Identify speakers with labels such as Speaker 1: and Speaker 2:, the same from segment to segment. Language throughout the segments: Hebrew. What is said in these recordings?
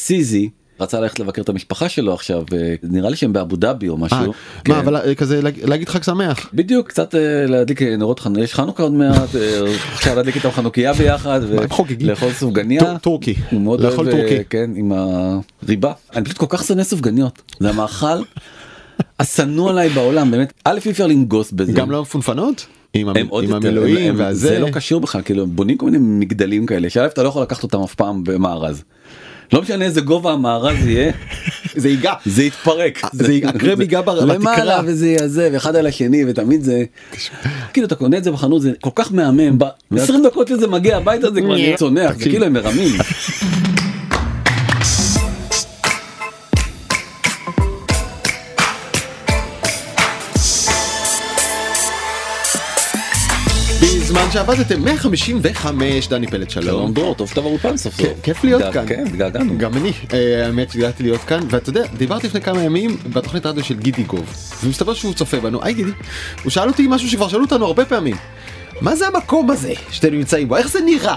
Speaker 1: סיזי רצה ללכת לבקר את המשפחה שלו עכשיו אה, נראה לי שהם באבו דאבי או
Speaker 2: אה,
Speaker 1: משהו.
Speaker 2: מה,
Speaker 1: כן.
Speaker 2: אבל אה, כזה להג- להגיד חג שמח.
Speaker 1: בדיוק קצת אה, להדליק אה, נרות חנוכה יש חנוכה עוד מעט אה, אפשר להדליק איתם חנוכיה ביחד
Speaker 2: מה, הם חוגגים?
Speaker 1: ולאכול סופגניה.
Speaker 2: טור- טורקי.
Speaker 1: הוא מאוד
Speaker 2: לאכול
Speaker 1: אוהב אה,
Speaker 2: טורקי.
Speaker 1: כן עם הריבה אני פשוט כל כך שונא סופגניות זה המאכל השנוא עליי בעולם באמת א' אי אפשר לנגוס בזה.
Speaker 2: גם לא מפונפנות? עם המ-
Speaker 1: כן. הם עוד
Speaker 2: עם
Speaker 1: יותר,
Speaker 2: המילואים
Speaker 1: הם- הם-
Speaker 2: והזה.
Speaker 1: זה לא קשור בכלל כאילו הם בונים כל מיני מגדלים כאלה שא' אתה לא יכול לקחת אותם אף פעם במארז. לא משנה איזה גובה המארז יהיה
Speaker 2: זה ייגע.
Speaker 1: זה יתפרק
Speaker 2: אה, זה הקרם ייגע בר- בתקרה.
Speaker 1: למעלה וזה יעזב אחד על השני ותמיד זה כאילו אתה קונה את זה בחנות זה כל כך מהמם ב- 20 דקות שזה מגיע הביתה זה כבר נהיה צונח זה
Speaker 2: תקשיב.
Speaker 1: כאילו הם מרמים.
Speaker 2: בזמן שעבדתם 155 דני פלד שלום.
Speaker 1: שלום דרור טוב שאתה באולפן סוף סוף.
Speaker 2: כן, כיף להיות
Speaker 1: התגע-
Speaker 2: כאן.
Speaker 1: כן התגעגענו.
Speaker 2: גם אני. אה, האמת שהגעתי להיות כאן ואתה יודע דיברתי לפני כמה ימים בתוכנית רדיו של גידי גוב ומסתבר שהוא צופה בנו היי גידי. הוא שאל אותי משהו שכבר שאלו אותנו הרבה פעמים. מה זה המקום הזה שאתם נמצאים בו איך זה נראה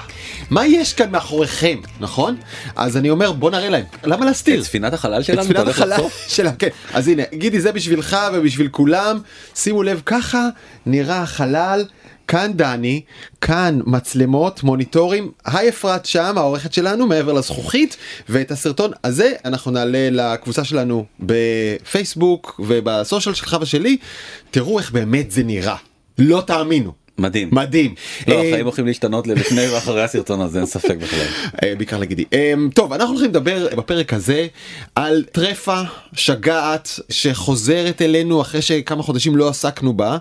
Speaker 2: מה יש כאן מאחוריכם נכון אז אני אומר בוא נראה להם למה להסתיר.
Speaker 1: את ספינת החלל
Speaker 2: את
Speaker 1: שלנו אתה
Speaker 2: ספינת
Speaker 1: הולך
Speaker 2: החלל
Speaker 1: לחשוף?
Speaker 2: שלה, כן. אז הנה, גידי, זה בשבילך ובשביל כולם. שימו לב, ככה נראה החלל. כאן דני, כאן מצלמות, מוניטורים. היי אפרת שם, העורכת שלנו, מעבר לזכוכית. ואת הסרטון הזה אנחנו נעלה לקבוצה שלנו בפייסבוק ובסושיאל שלך ושלי. תראו איך באמת זה נראה. לא תאמינו.
Speaker 1: מדהים.
Speaker 2: מדהים.
Speaker 1: לא
Speaker 2: אה,
Speaker 1: החיים הולכים להשתנות לפני ואחרי הסרטון הזה אין ספק בכלל.
Speaker 2: אה, בעיקר לגידי. אה, טוב, אנחנו הולכים לדבר בפרק הזה על טרפה שגעת שחוזרת אלינו אחרי שכמה חודשים לא עסקנו בה.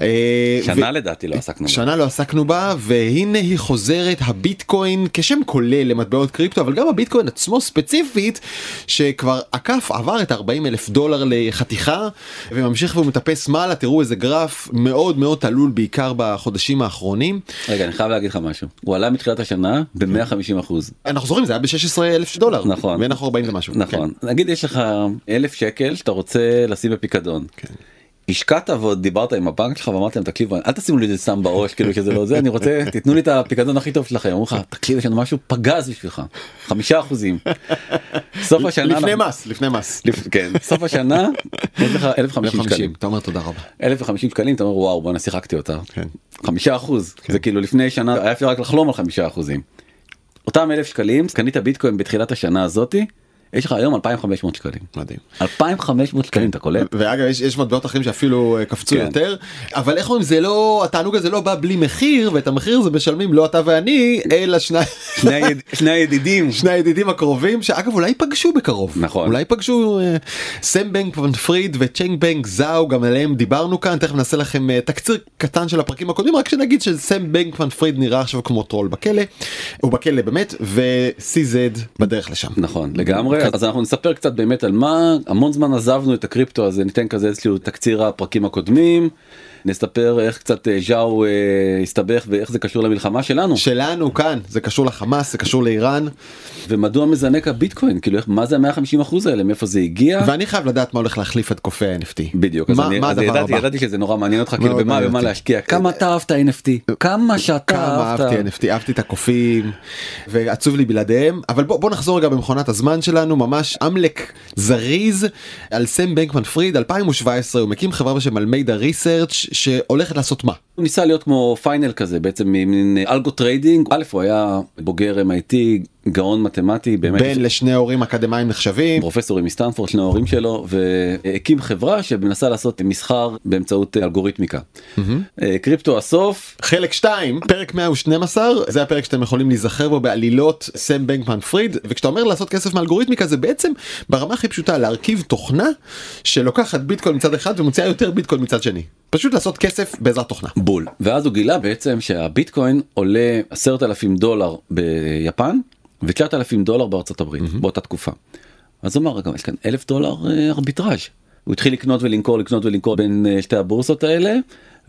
Speaker 2: אה,
Speaker 1: שנה לדעתי לא עסקנו. בזה.
Speaker 2: שנה לא עסקנו בה והנה היא חוזרת הביטקוין כשם כולל למטבעות קריפטו אבל גם הביטקוין עצמו ספציפית שכבר עקף עבר את 40 אלף דולר לחתיכה וממשיך והוא מטפס מעלה תראו איזה גרף מאוד מאוד תלול בעיקר בחודשים האחרונים.
Speaker 1: רגע אני חייב להגיד לך משהו הוא עלה מתחילת השנה ב-150 אחוז
Speaker 2: אנחנו זוכרים זה היה ב-16 אלף דולר
Speaker 1: נכון.
Speaker 2: ואנחנו 40 ומשהו
Speaker 1: נכון נגיד יש לך אלף שקל שאתה רוצה לשים בפיקדון. השקעת ועוד דיברת עם הבנק שלך ואמרתם תקשיבו אל תשימו לי את זה סתם בראש כאילו שזה לא זה אני רוצה תיתנו לי את הפיקדון הכי טוב שלכם אומרים לך תקשיב יש לנו משהו פגז בשבילך חמישה אחוזים. סוף השנה
Speaker 2: לפני
Speaker 1: אנחנו-
Speaker 2: מס לפני מס
Speaker 1: לפ- כן סוף השנה יש לך 1,050 שקלים.
Speaker 2: 50 אתה אומר תודה רבה
Speaker 1: 1,050 שקלים אתה אומר וואו בואנה שיחקתי אותה.
Speaker 2: כן.
Speaker 1: חמישה אחוז זה כאילו לפני שנה היה אפשר רק לחלום על חמישה אחוזים. אותם אלף שקלים קנית ביטקוין בתחילת השנה הזאתי יש לך היום 2,500 שקלים.
Speaker 2: מדהים.
Speaker 1: 2,500 שקלים אתה קולט?
Speaker 2: ואגב יש, יש מטבעות אחרים שאפילו אה, קפצו
Speaker 1: כן.
Speaker 2: יותר אבל איך אומרים זה לא התענוג הזה לא בא בלי מחיר ואת המחיר זה משלמים לא אתה ואני אלא שני,
Speaker 1: שני היד- שני הידידים.
Speaker 2: שני הידידים הקרובים שאגב אולי ייפגשו בקרוב
Speaker 1: נכון.
Speaker 2: אולי ייפגשו אה, סם בנק ון פריד וצ'נג בנק זאו גם עליהם דיברנו כאן תכף נעשה לכם אה, תקציר קטן של הפרקים הקודמים רק שנגיד שסם בנק ון פריד נראה עכשיו כמו טרול בכלא הוא בכלא באמת ו-CZ בדרך לשם.
Speaker 1: נכון לגמרי אז אנחנו נספר קצת באמת על מה המון זמן עזבנו את הקריפטו אז ניתן כזה איזשהו תקציר הפרקים הקודמים נספר איך קצת אה, ז'או אה, הסתבך ואיך זה קשור למלחמה שלנו
Speaker 2: שלנו כאן זה קשור לחמאס זה קשור לאיראן
Speaker 1: ומדוע מזנק הביטקוין כאילו איך- מה זה 150 אחוז האלה מאיפה זה הגיע.
Speaker 2: ואני חייב לדעת מה הולך להחליף את קופי ה-NFT.
Speaker 1: בדיוק, אז
Speaker 2: מה,
Speaker 1: אני
Speaker 2: מה
Speaker 1: אז
Speaker 2: הדבר
Speaker 1: ידעתי,
Speaker 2: הבא?
Speaker 1: ידעתי שזה נורא מעניין אותך, כאילו במה
Speaker 2: מעניין
Speaker 1: במה
Speaker 2: אותי. אה,
Speaker 1: להשקיע, כמה אתה אהבת NFT, כמה שאתה
Speaker 2: כמה
Speaker 1: אהבת.
Speaker 2: אהבתי NFT, אהבתי את הקופים ועצוב לי בלעדיהם אבל בוא, בוא נחזור רגע במכונת הזמן שלנו ממש אמלק זריז על סם בנקמן פריד 2017 הוא מקים חברה בשם אלמידה ריסרצ' שהולכת לעשות מה?
Speaker 1: הוא ניסה להיות כמו פיינל כזה, בעצם מין אה, אלגו טריידינג, א' הוא היה בוגר MIT, גאון מתמטי, באמת.
Speaker 2: בן לשני הורים אקדמאים נחשבים
Speaker 1: פרופסורים מסטנפורד, שני ההורים שלו, והקים חברה שמנסה לעשות מסחר באמצעות אלגוריתמיקה. אה, קריפטו הסוף,
Speaker 2: חלק 2 פרק 112 זה הפרק שאתם יכולים להיזכר בו בעלילות סם בנקמן פריד וכשאתה אומר לעשות כסף מאלגוריתמיקה זה בעצם ברמה הכי פשוטה להרכיב תוכנה שלוקחת ביטקוין מצד אחד ומוציאה יותר ביטקוין מצד שני פשוט לעשות כסף בעזרת תוכנה.
Speaker 1: בול. ואז הוא גילה בעצם שהביטקוין עולה 10,000 דולר ביפן ו-9,000 דולר בארצות הברית mm-hmm. באותה תקופה. אז הוא אמר רגע יש כאן 1,000 דולר אה, ארביטראז'. הוא התחיל לקנות ולמכור לקנות ולמכור בין אה, שתי הבורסות האלה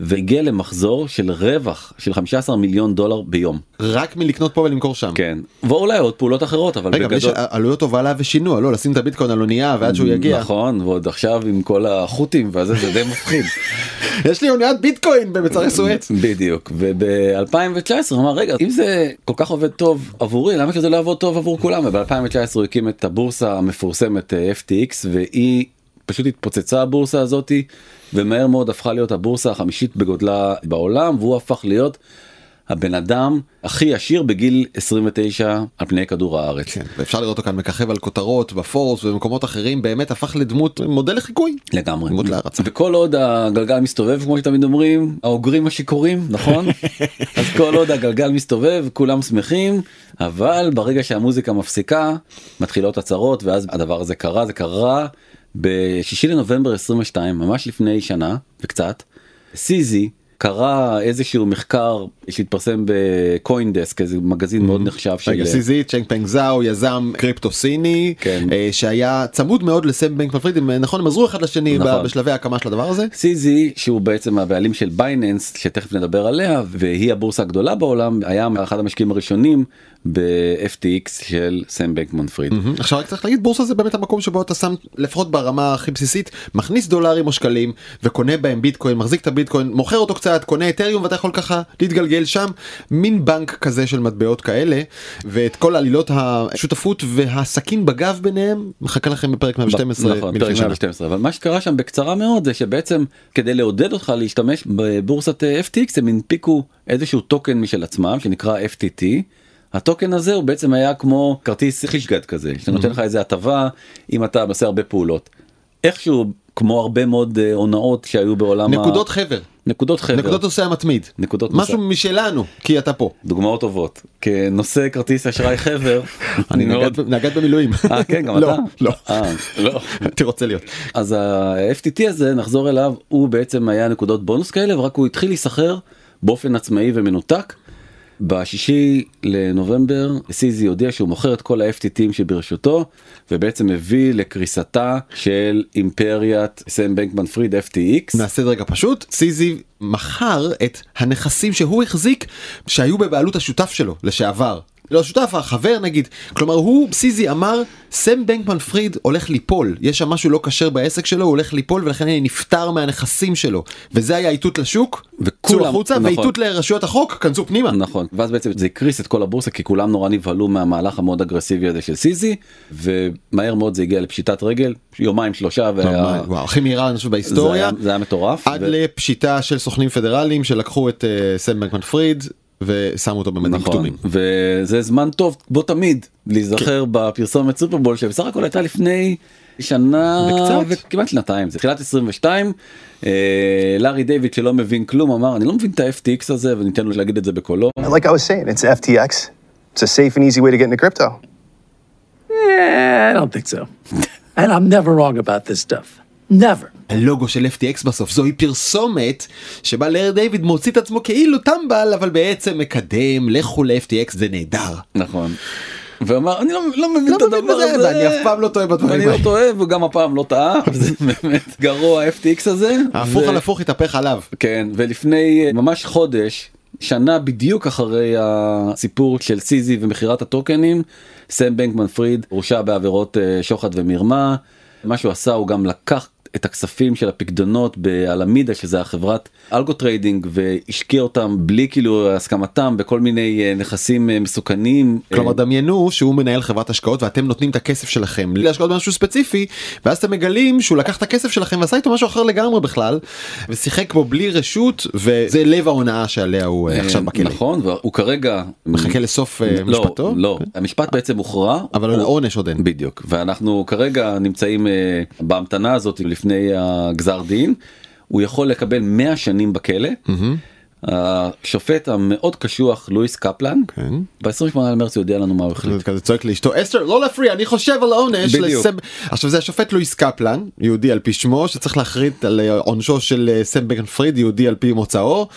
Speaker 1: והגיע למחזור של רווח של 15 מיליון דולר ביום.
Speaker 2: רק מלקנות פה ולמכור שם.
Speaker 1: כן. ואולי עוד פעולות אחרות, אבל
Speaker 2: רגע, אבל יש
Speaker 1: בגדול...
Speaker 2: עלויות הובלה ושינוע, לא, לשים את הביטקוין על אונייה ועד שהוא יגיע.
Speaker 1: נכון, ועוד עכשיו עם כל החות'ים וזה, זה די מפחיד.
Speaker 2: יש לי אוניית ביטקוין במצרי סואץ.
Speaker 1: בדיוק. וב-2019 הוא אמר, רגע, אם זה כל כך עובד טוב עבורי, למה שזה לא יעבוד טוב עבור כולם? וב-2019 הוא הקים את הבורסה המפורסמת אה, FTX, והיא פשוט התפוצצה הבורסה הזאתי, ומהר מאוד הפכה להיות הבורסה החמישית בגודלה בעולם, והוא הפך להיות הבן אדם הכי עשיר בגיל 29 על פני כדור הארץ.
Speaker 2: כן, ואפשר לראות אותו כאן מככב על כותרות בפורס ובמקומות אחרים, באמת הפך לדמות מודל לחיקוי.
Speaker 1: לגמרי.
Speaker 2: דמות להערצה.
Speaker 1: וכל עוד הגלגל מסתובב כמו שתמיד אומרים האוגרים השיכורים נכון אז כל עוד הגלגל מסתובב כולם שמחים אבל ברגע שהמוזיקה מפסיקה מתחילות הצהרות ואז הדבר הזה קרה זה קרה ב-6 לנובמבר 22 ממש לפני שנה וקצת סיזי. קרא איזשהו מחקר שהתפרסם בקוינדסק איזה מגזין מאוד נחשב של
Speaker 2: Mm-hmm. רגע, סיזי צ'נג פנג זאו יזם קריפטו סיני
Speaker 1: כן.
Speaker 2: אה, שהיה צמוד מאוד לסם בנק פרפריד הם, אה, נכון הם עזרו אחד לשני ב-
Speaker 1: נכון.
Speaker 2: בשלבי ההקמה של הדבר הזה.
Speaker 1: סיזי שהוא בעצם הבעלים של בייננס שתכף נדבר עליה והיא הבורסה הגדולה בעולם היה אחד המשקיעים הראשונים ב-FTX של סם בנקמן פריד.
Speaker 2: מהמם. עכשיו רק צריך להגיד בורסה זה באמת המקום שבו אתה שם לפחות ברמה הכי בסיסית מכניס דולרים או שקלים וקונה בהם ביטקוין מחזיק את הביטקוין מוכר אותו קצת קונה אתריום ואתה יכול ככה להתגלגל שם מין בנק כזה של מטבעות כאלה ואת כל עלילות השותפות והסכין בגב ביניהם מחכה לכם בפרק 112
Speaker 1: נכון,
Speaker 2: מלפני
Speaker 1: פרק
Speaker 2: שנה.
Speaker 1: 112 אבל מה שקרה שם בקצרה מאוד זה שבעצם כדי לעודד אותך להשתמש בבורסת אה, FTX הם הנפיקו איזשהו טוקן משל עצמם שנקרא FTT. הטוקן הזה הוא בעצם היה כמו כרטיס חישגד כזה
Speaker 2: Mm-hmm.
Speaker 1: שנותן לך איזה הטבה אם אתה עושה הרבה פעולות. איכשהו כמו הרבה מאוד אה, הונאות שהיו בעולם ה-
Speaker 2: נקודות חבר
Speaker 1: נקודות חבר.
Speaker 2: נקודות נושא המתמיד
Speaker 1: נקודות
Speaker 2: משהו משלנו כי אתה פה.
Speaker 1: דוגמאות טובות. כנושא כרטיס אשראי חבר.
Speaker 2: אני נגד- נגד במילואים.
Speaker 1: אה כן גם
Speaker 2: לא,
Speaker 1: אתה?
Speaker 2: לא.
Speaker 1: אה, לא.
Speaker 2: הייתי רוצה להיות.
Speaker 1: אז ה-FTT הזה נחזור אליו הוא בעצם היה נקודות בונוס כאלה ורק הוא התחיל להיסחר באופן עצמאי ומנותק. בשישי לנובמבר סיזי הודיע שהוא מוכר את כל ה-FTTים שברשותו ובעצם הביא לקריסתה של אימפריית סם בנקמן פריד FTX.
Speaker 2: נעשה את זה רגע פשוט, סיזי מכר את הנכסים שהוא החזיק שהיו בבעלות השותף שלו לשעבר. לא השותף, החבר נגיד. כלומר הוא, סיזי אמר, סם בנקמן פריד הולך ליפול, יש שם משהו לא כשר בעסק שלו, הוא הולך ליפול ולכן אני נפטר מהנכסים שלו. וזה היה איתות לשוק,
Speaker 1: וכולם-
Speaker 2: צאו החוצה,
Speaker 1: נכון.
Speaker 2: ואיתות לרשויות החוק, כנסו פנימה.
Speaker 1: נכון ואז בעצם זה הקריס את כל הבורסה כי כולם נורא נבהלו מהמהלך המאוד אגרסיבי הזה של סיזי ומהר מאוד זה הגיע לפשיטת רגל יומיים שלושה וה...
Speaker 2: וואו, הכי מהירה אני חושב
Speaker 1: זה, היה,
Speaker 2: בהיסטוריה.
Speaker 1: זה היה מטורף.
Speaker 2: עד לפשיטה של סוכנים פדרליים שלקחו את אה, סם בנקמן פריד ושמו אותו במדים
Speaker 1: נכון,
Speaker 2: כתומים.
Speaker 1: וזה זמן טוב בו תמיד להיזכר
Speaker 2: כן.
Speaker 1: בפרסומת סופרבול שבסך הכל הייתה לפני שנה
Speaker 2: וקצת.
Speaker 1: וכמעט שנתיים זה תחילת 22 אה, לארי דיוויד שלא מבין כלום אמר אני לא מבין את ה-FTX הזה וניתן לו להגיד את זה בקולו
Speaker 3: Like I was saying, it's FTX. It's a safe and easy way to get into crypto.
Speaker 4: Eh, I don't think so. and I'm never wrong about this stuff. Never.
Speaker 2: הלוגו של FTX בסוף זוהי פרסומת שבה לארי דיוויד מוציא את עצמו כאילו טמבל אבל בעצם מקדם לכו ל-FTX זה נהדר.
Speaker 1: נכון. ואמר אני לא, לא מבין
Speaker 2: לא
Speaker 1: את הדבר
Speaker 2: מבין בזה,
Speaker 1: הזה
Speaker 2: ואני אף פעם לא טועה בדברים
Speaker 1: ואני לא
Speaker 2: האלה.
Speaker 1: טועה וגם הפעם לא טעה זה באמת גרוע ה-FTX הזה.
Speaker 2: ההפוך
Speaker 1: ו-
Speaker 2: על הפוך התהפך עליו.
Speaker 1: כן ולפני אה, ממש חודש שנה בדיוק אחרי הסיפור של סיזי ומכירת הטוקנים סם בנקמן פריד הורשע בעבירות אה, שוחד ומרמה מה שהוא עשה הוא גם לקח את הכספים של הפקדונות באלמידה שזה החברת אלגו טריידינג והשקיע אותם בלי כאילו הסכמתם בכל מיני אה, נכסים אה, מסוכנים.
Speaker 2: כלומר
Speaker 1: אה,
Speaker 2: דמיינו שהוא מנהל חברת השקעות ואתם נותנים את הכסף שלכם להשקעות במשהו ספציפי ואז אתם מגלים שהוא לקח את הכסף שלכם ועשה איתו משהו אחר לגמרי בכלל ושיחק בו בלי רשות וזה לב ההונאה שעליה הוא אה, עכשיו בכלא.
Speaker 1: נכון והוא כרגע
Speaker 2: מחכה לסוף אה,
Speaker 1: לא,
Speaker 2: משפטו?
Speaker 1: לא המשפט בעצם הוכרע
Speaker 2: אבל לא-
Speaker 1: הוא-
Speaker 2: עונש עוד אין.
Speaker 1: בדיוק ואנחנו כרגע נמצאים אה, בהמתנה הזאת לפני הגזר דין הוא יכול לקבל 100 שנים בכלא. השופט המאוד קשוח לואיס קפלן
Speaker 2: כן.
Speaker 1: ב-28 למרץ הוא יודיע לנו מה הוא החליט.
Speaker 2: זה כזה צועק לאשתו אסתר לא להפריע אני חושב על העונש.
Speaker 1: בדיוק.
Speaker 2: לסם-" עכשיו זה השופט לואיס קפלן יהודי על פי שמו שצריך להחריט על אה, עונשו של אה, סם בגן פריד יהודי על פי מוצאו.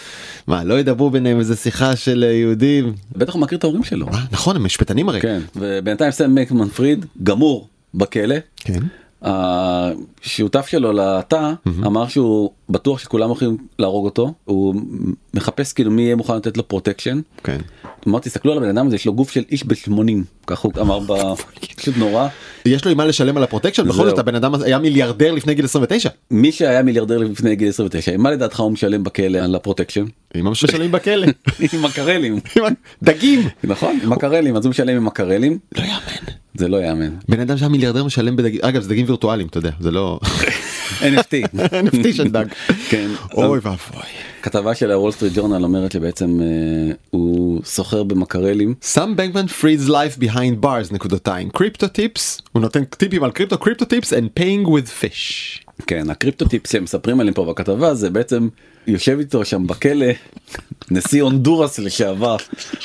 Speaker 2: מה לא ידברו ביניהם איזה שיחה של אה, יהודים.
Speaker 1: בטח הוא מכיר את ההורים שלו.
Speaker 2: אה, נכון הם משפטנים הרי.
Speaker 1: כן ובינתיים סם מקמן פריד גמור בכלא.
Speaker 2: כן.
Speaker 1: השותף שלו לתא אמר שהוא בטוח שכולם הולכים להרוג אותו הוא מחפש כאילו מי יהיה מוכן לתת לו פרוטקשן.
Speaker 2: כן.
Speaker 1: אמר תסתכלו על הבן אדם הזה יש לו גוף של איש ב-80 ככה הוא אמר ב... פשוט נורא
Speaker 2: יש לו עם מה לשלם על הפרוטקשן בכל
Speaker 1: זהו.
Speaker 2: זאת הבן אדם היה מיליארדר לפני גיל 29.
Speaker 1: מי שהיה מיליארדר לפני גיל 29 מה לדעתך הוא משלם בכלא על הפרוטקשן?
Speaker 2: עם מה משלמים בכלא.
Speaker 1: עם מקרלים
Speaker 2: דגים.
Speaker 1: נכון עם מקרלים אז הוא משלם עם מקרלים לא יאמן זה לא יאמן
Speaker 2: בן אדם שהיה מיליארדר משלם בדגים אגב זה דגים וירטואליים אתה יודע זה לא
Speaker 1: NFT
Speaker 2: NFT של דג.
Speaker 1: כן
Speaker 2: אוי ואבוי.
Speaker 1: כתבה של הוול סטריט ג'ורנל אומרת שבעצם אה, הוא סוחר במקרלים
Speaker 2: סם בנקמן פריז לייף ביהיינד ברס נקודתיים קריפטו טיפס הוא נותן טיפים על קריפטו קריפטו טיפס and paying with fish.
Speaker 1: כן הקריפטו טיפס שהם מספרים עליהם פה בכתבה זה בעצם יושב איתו שם בכלא נשיא הונדורס לשעבר.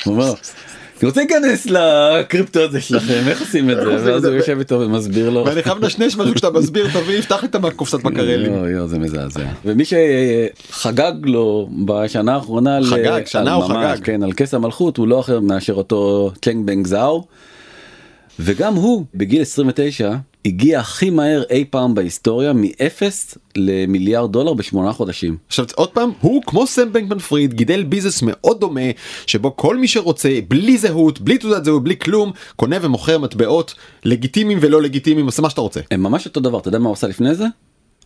Speaker 1: הוא אומר אני רוצה להיכנס לקריפטו הזה שלכם איך עושים את זה ואז הוא יושב איתו ומסביר לו.
Speaker 2: ואני חייב לנשנש משהו כשאתה מסביר תביא יפתח לי את הקופסת מקרלים.
Speaker 1: יואו, יואו, זה מזעזע ומי שחגג לו בשנה האחרונה על-
Speaker 2: חגג, שנה
Speaker 1: על
Speaker 2: הוא
Speaker 1: ממש,
Speaker 2: חגג.
Speaker 1: כן על כס המלכות הוא לא אחר מאשר אותו צ'נג בנג זאו. וגם הוא בגיל 29 הגיע הכי מהר אי פעם בהיסטוריה מאפס למיליארד דולר בשמונה חודשים.
Speaker 2: עכשיו עוד פעם הוא כמו סם בנקמן פריד גידל ביזנס מאוד דומה שבו כל מי שרוצה בלי זהות בלי תעודת זהות בלי כלום קונה ומוכר מטבעות לגיטימיים ולא לגיטימיים עושה מה שאתה רוצה.
Speaker 1: הם ממש אותו דבר אתה יודע מה הוא עשה לפני זה?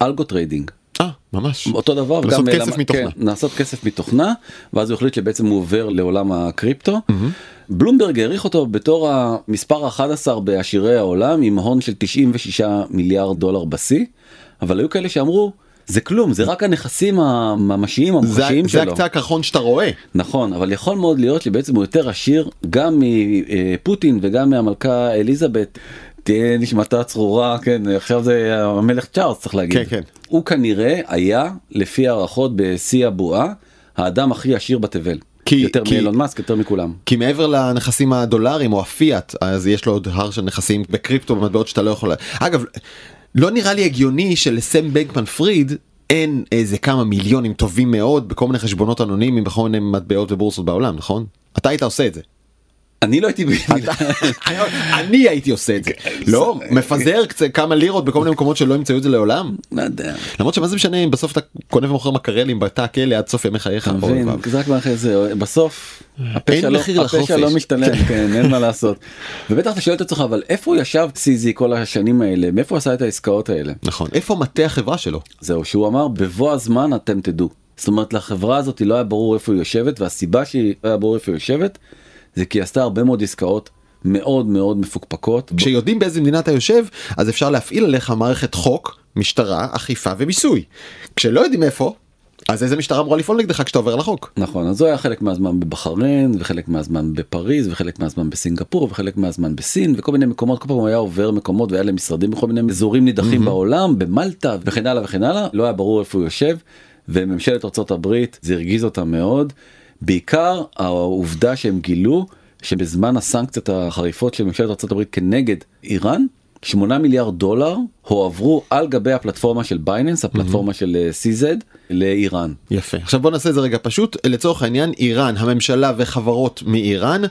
Speaker 1: אלגו טריידינג.
Speaker 2: אה ממש.
Speaker 1: אותו דבר
Speaker 2: לעשות
Speaker 1: גם,
Speaker 2: כסף
Speaker 1: למה-
Speaker 2: מתוכנה.
Speaker 1: כן, לעשות כסף מתוכנה ואז הוא החליט שבעצם הוא עובר לעולם הקריפטו.
Speaker 2: Mm-hmm.
Speaker 1: בלומברג העריך אותו בתור המספר ה-11 בעשירי העולם עם הון של 96 מיליארד דולר בשיא אבל היו כאלה שאמרו זה כלום זה רק הנכסים הממשיים
Speaker 2: זה,
Speaker 1: המוחשיים
Speaker 2: זה
Speaker 1: שלו
Speaker 2: הקצה הקרחון שאתה רואה.
Speaker 1: נכון אבל יכול מאוד להיות שבעצם הוא יותר עשיר גם מפוטין וגם מהמלכה אליזבת. תהיה נשמתה צרורה כן עכשיו זה המלך צ'ארלס צריך להגיד
Speaker 2: כן, כן.
Speaker 1: הוא כנראה היה לפי הערכות בשיא הבועה האדם הכי עשיר בתבל
Speaker 2: כי-
Speaker 1: יותר
Speaker 2: כי-
Speaker 1: מאילון מאסק יותר מכולם
Speaker 2: כי מעבר לנכסים הדולרים או הפיאט אז יש לו עוד הר של נכסים בקריפטו במטבעות שאתה לא יכול אגב לא נראה לי הגיוני שלסם בנקמן פריד אין איזה כמה מיליונים טובים מאוד בכל מיני חשבונות אנונימיים בכל מיני מטבעות ובורסות בעולם נכון אתה היית עושה את זה.
Speaker 1: אני לא הייתי במילה-
Speaker 2: אני הייתי עושה את זה לא מפזר קצת כמה לירות בכל מיני מקומות שלא ימצאו את זה לעולם
Speaker 1: לא יודע.
Speaker 2: למרות שמה זה משנה אם בסוף אתה קונה ומוכר מקרלים בתא הכלא עד סוף ימי חייך.
Speaker 1: אתה
Speaker 2: אוי
Speaker 1: מבין,
Speaker 2: ואבוי.
Speaker 1: זה רק מאחורי זה, בסוף הפשע
Speaker 2: אין
Speaker 1: לא-
Speaker 2: מחיר
Speaker 1: הפשע
Speaker 2: לחופש.
Speaker 1: לא משתלם, כן, אין מה לעשות. ובטח אתה שואל את עצמך, אבל איפה הוא ישב סיזי כל השנים האלה, מאיפה הוא עשה את העסקאות האלה?
Speaker 2: נכון איפה מטה החברה שלו
Speaker 1: זהו, שהוא אמר, בבוא הזמן אתם תדעו. זאת אומרת, לחברה הזאת לא היה ברור איפה היא יושבת, והסיבה שהיא לא היה ברור איפה היא יושבת, זה כי היא עשתה הרבה מאוד עסקאות מאוד מאוד מפוקפקות.
Speaker 2: כשיודעים באיזה מדינה אתה יושב אז אפשר להפעיל עליך מערכת חוק משטרה אכיפה ומיסוי כשלא יודעים איפה אז איזה משטרה אמורה לפעול נגדך כשאתה עובר על החוק
Speaker 1: נכון, אז הוא היה חלק מהזמן בבחריין, וחלק מהזמן בפריז, וחלק מהזמן בסינגפור, וחלק מהזמן בסין, וכל מיני מקומות, כל פעם הוא היה עובר מקומות והיה למשרדים בכל מיני אזורים נידחים בעולם, במלטה, וכן הלאה וכן הלאה, לא היה ברור איפה הוא יושב, וממשלת ארצות הברית, זה הרגיז אותה מאוד, בעיקר העובדה שהם גילו שבזמן הסנקציות החריפות של ממשלת ארצות הברית כנגד איראן, 8 מיליארד דולר הועברו על גבי הפלטפורמה של בייננס, הפלטפורמה של אה, CZ, לאיראן.
Speaker 2: יפה עכשיו בוא נעשה את זה רגע פשוט לצורך העניין איראן הממשלה וחברות מאיראן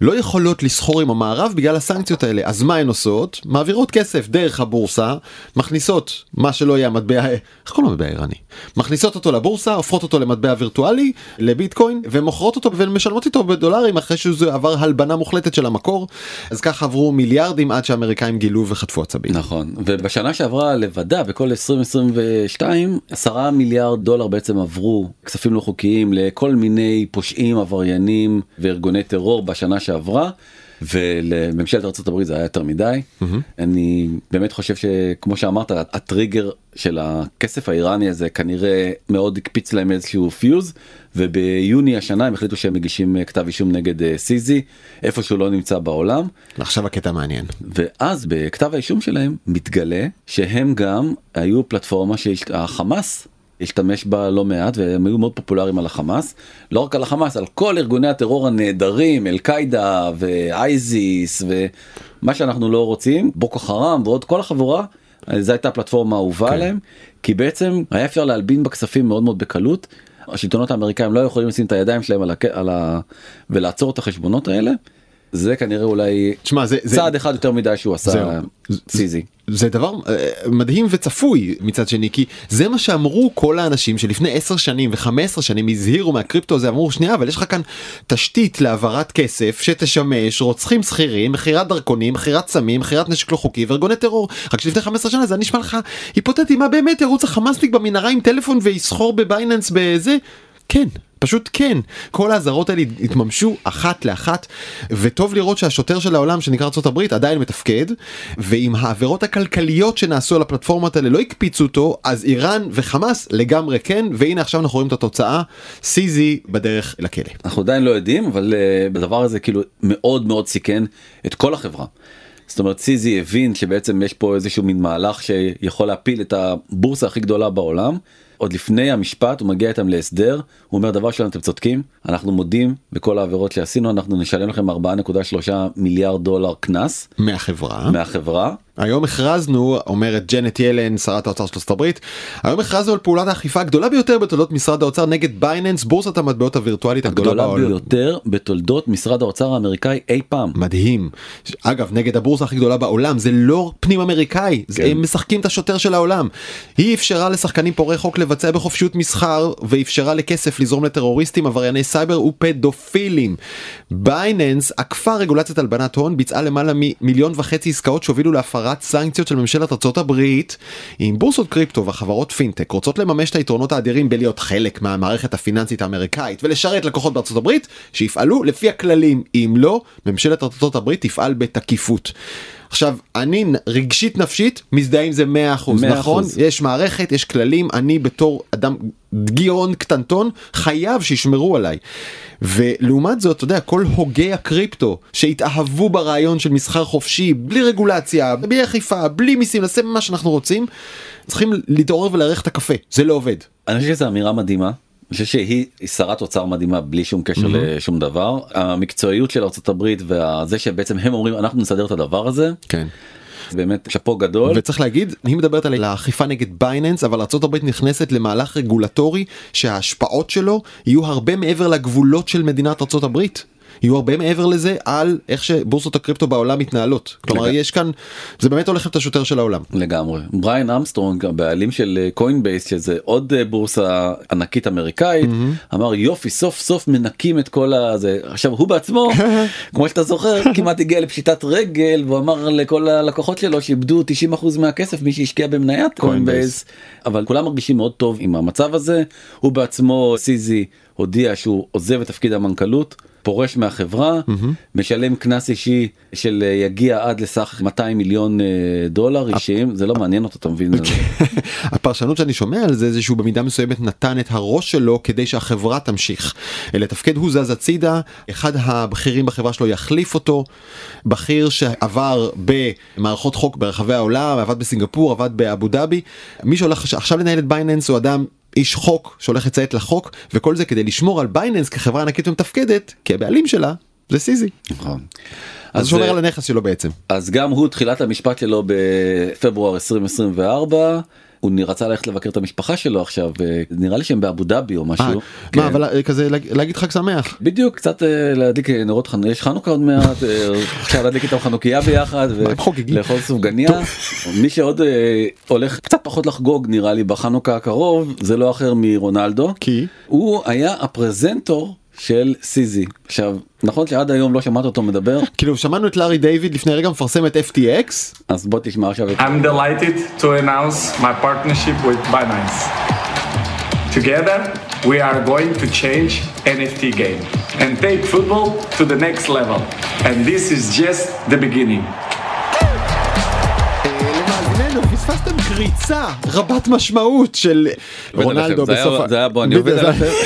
Speaker 2: לא יכולות לסחור עם המערב בגלל הסנקציות האלה אז מה הן עושות מעבירות כסף דרך הבורסה מכניסות מה שלא יהיה המטבע איך קוראים למטבע האיראני מכניסות אותו לבורסה הופכות אותו למטבע וירטואלי לביטקוין ומוכרות אותו ומשלמות איתו בדולרים אחרי שזה עבר הלבנה מוחלטת של המקור אז ככה עברו מיליארדים עד שהאמריקאים גילו וחטפו עצבים.
Speaker 1: נכון ובשנה שעברה לבדה בכל 2022 10 מיליארד דולר בעצם עברו כספים לא חוקיים לכל מיני פושעים עבריינים וארגוני טרור בשנה שעברה. ולממשלת ארה"ב זה היה יותר מדי אני באמת חושב שכמו שאמרת הטריגר של הכסף האיראני הזה כנראה מאוד הקפיץ להם איזשהו פיוז וביוני השנה הם החליטו שהם מגישים אה, כתב אישום נגד אה, סיזי איפה שהוא לא נמצא בעולם
Speaker 2: עכשיו הקטע המעניין.
Speaker 1: ואז בכתב האישום שלהם מתגלה שהם גם היו פלטפורמה שהחמאס השתמש בה לא מעט והם היו מאוד פופולריים על החמאס לא רק על החמאס על כל ארגוני הטרור הנהדרים אל קאידה ואייזיס ומה שאנחנו לא רוצים בוקו חרם ועוד כל החבורה. זו הייתה הפלטפורמה האהובה כן. עליהם כי בעצם היה אפשר להלבין בכספים מאוד מאוד בקלות. השלטונות האמריקאים לא יכולים לשים את הידיים שלהם על, הכ... על ה... ולעצור את החשבונות האלה. זה כנראה אולי
Speaker 2: תשמע, זה- זה-
Speaker 1: צעד אחד יותר מדי שהוא עשה
Speaker 2: זהו.
Speaker 1: סיזי.
Speaker 2: זה דבר אה, מדהים וצפוי מצד שני כי זה מה שאמרו כל האנשים שלפני 10 שנים ו-15 שנים הזהירו מהקריפטו הזה אמרו שנייה אבל יש לך כאן תשתית להעברת כסף שתשמש רוצחים שכירים מכירת דרכונים מכירת סמים מכירת נשק לא חוקי וארגוני טרור רק שלפני 15 שנה זה היה נשמע לך היפותטי מה באמת ירוץ החמאסניק במנהרה עם טלפון ויסחור בבייננס בזה כן. פשוט כן, כל האזהרות האלה התממשו אחת לאחת, וטוב לראות שהשוטר של העולם שנקרא ארה"ב עדיין מתפקד, ואם העבירות הכלכליות שנעשו על הפלטפורמות האלה לא הקפיצו אותו, אז איראן וחמאס לגמרי כן, והנה עכשיו אנחנו רואים את התוצאה, סיזי בדרך לכלא.
Speaker 1: אנחנו עדיין לא יודעים אבל אה, הדבר הזה כאילו מאוד מאוד סיכן את כל החברה. זאת אומרת סיזי הבין שבעצם יש פה איזשהו מין מהלך שיכול להפיל את הבורסה הכי גדולה בעולם. עוד לפני המשפט הוא מגיע איתם להסדר הוא אומר דבר שלנו אתם צודקים אנחנו מודים בכל העבירות שעשינו אנחנו נשלם לכם 4.3 מיליארד דולר קנס
Speaker 2: מהחברה.
Speaker 1: מהחברה
Speaker 2: היום הכרזנו, אומרת ג'נט ילן, שרת האוצר של ארצות הברית, היום הכרזנו על פעולת האכיפה הגדולה ביותר בתולדות משרד האוצר נגד בייננס, בורסת המטבעות הווירטואלית הגדולה
Speaker 1: גדולה
Speaker 2: בעולם.
Speaker 1: ביותר בתולדות משרד האוצר האמריקאי אי פעם.
Speaker 2: מדהים. ש- אגב, נגד הבורסה הכי גדולה בעולם, זה לא פנים אמריקאי, זה- הם משחקים את השוטר של העולם. היא אפשרה לשחקנים פורעי חוק לבצע בחופשיות מסחר, ואפשרה לכסף לזרום לטרוריסטים, עברייני סייבר ופדופילים. בייננס עקפה רגולציית הלבנת הון, ביצעה למעלה ממיליון וחצי עסקאות שהובילו להפרת סנקציות של ממשלת ארצות הברית. אם בורסות קריפטו והחברות פינטק רוצות לממש את היתרונות האדירים בלהיות חלק מהמערכת הפיננסית האמריקאית ולשרת לקוחות בארצות הברית, שיפעלו לפי הכללים. אם לא, ממשלת ארצות הברית תפעל בתקיפות. עכשיו, אני נ- רגשית נפשית מזדהה עם זה 100%,
Speaker 1: 100%.
Speaker 2: נכון? יש מערכת, יש כללים, אני בתור אדם גירעון קטנטון חייב שישמרו עליי. ולעומת זאת, אתה יודע, כל הוגי הקריפטו שהתאהבו ברעיון של מסחר חופשי, בלי רגולציה, בלי אכיפה, בלי מיסים, נעשה מה שאנחנו רוצים, צריכים להתעורר ולארח את הקפה, זה לא עובד.
Speaker 1: אני חושב שזו אמירה מדהימה. אני חושב שהיא היא שרת אוצר מדהימה בלי שום קשר לשום דבר. המקצועיות של ארה"ב וזה שבעצם הם אומרים אנחנו נסדר את הדבר הזה.
Speaker 2: כן.
Speaker 1: באמת שאפו גדול.
Speaker 2: וצריך להגיד, היא מדברת על האכיפה נגד בייננס, אבל ארה"ב נכנסת למהלך רגולטורי שההשפעות שלו יהיו הרבה מעבר לגבולות של מדינת ארה"ב. יהיו הרבה מעבר לזה על איך שבורסות הקריפטו בעולם מתנהלות. כלומר,
Speaker 1: לגמרי.
Speaker 2: יש כאן, זה באמת הולך להיות השוטר של העולם.
Speaker 1: לגמרי. בריין אמסטרונג הבעלים של קוינבייס שזה עוד אה, בורסה ענקית אמריקאית אמר יופי סוף סוף מנקים את כל הזה עכשיו הוא בעצמו כמו שאתה זוכר כמעט הגיע לפשיטת רגל והוא אמר לכל הלקוחות שלו שאיבדו 90% מהכסף מי שהשקיע במניית קוינבייס אבל כולם מרגישים מאוד טוב עם המצב הזה הוא בעצמו סיזי הודיע שהוא עוזב את תפקיד המנכ"לות. פורש מהחברה משלם קנס אישי של אה, יגיע עד לסך 200 מיליון אה, דולר
Speaker 2: אוקיי.
Speaker 1: אישיים זה לא מעניין אותו אתה מבין
Speaker 2: הפרשנות שאני שומע על זה זה שהוא במידה מסוימת נתן את הראש שלו כדי שהחברה תמשיך לתפקד הוא זז הצידה אחד הבכירים בחברה שלו יחליף אותו בכיר שעבר במערכות חוק ברחבי העולם עבד בסינגפור עבד באבו דאבי מי שהולך עכשיו לנהל את בייננס הוא אדם. איש חוק שהולך לציית לחוק וכל זה כדי לשמור על בייננס כחברה ענקית ומתפקדת כי הבעלים שלה זה סיזי
Speaker 1: נכון.
Speaker 2: אז הוא
Speaker 1: אה,
Speaker 2: שומר על הנכס שלו בעצם
Speaker 1: אז גם הוא תחילת המשפט שלו בפברואר 2024 הוא רצה ללכת לבקר את המשפחה שלו עכשיו אה, נראה לי שהם באבו דאבי או
Speaker 2: אה,
Speaker 1: משהו. כן.
Speaker 2: מה אבל אה, כזה להג- להגיד חג שמח
Speaker 1: בדיוק קצת אה, להדליק אה, נרות חנוכה יש חנוכה עוד מעט אה, אפשר להדליק איתם חנוכיה ביחד
Speaker 2: מה, הם חוגגים?
Speaker 1: ולאכול סופגניה מי שעוד אה, הולך קצת פחות לחגוג נראה לי בחנוכה הקרוב זה לא אחר מרונלדו
Speaker 2: כי
Speaker 1: הוא היה הפרזנטור של סיזי עכשיו נכון שעד היום לא שמעת אותו מדבר
Speaker 2: כאילו שמענו את לארי דיוויד לפני רגע מפרסם את FTX
Speaker 1: אז בוא תשמע עכשיו את
Speaker 5: I'm delighted to announce my partnership with Binance. Together, we are going to change NFT game and take football to the next level. And this is just the beginning.
Speaker 2: למאזיננו פספסתם קריצה רבת משמעות של
Speaker 1: עובד
Speaker 2: רונלדו
Speaker 1: עליכם. זה
Speaker 2: בסוף
Speaker 1: היה-
Speaker 2: ה-
Speaker 1: זה היה בוא אני
Speaker 2: בדיוק,
Speaker 1: עובד
Speaker 2: זה-
Speaker 1: עליכם.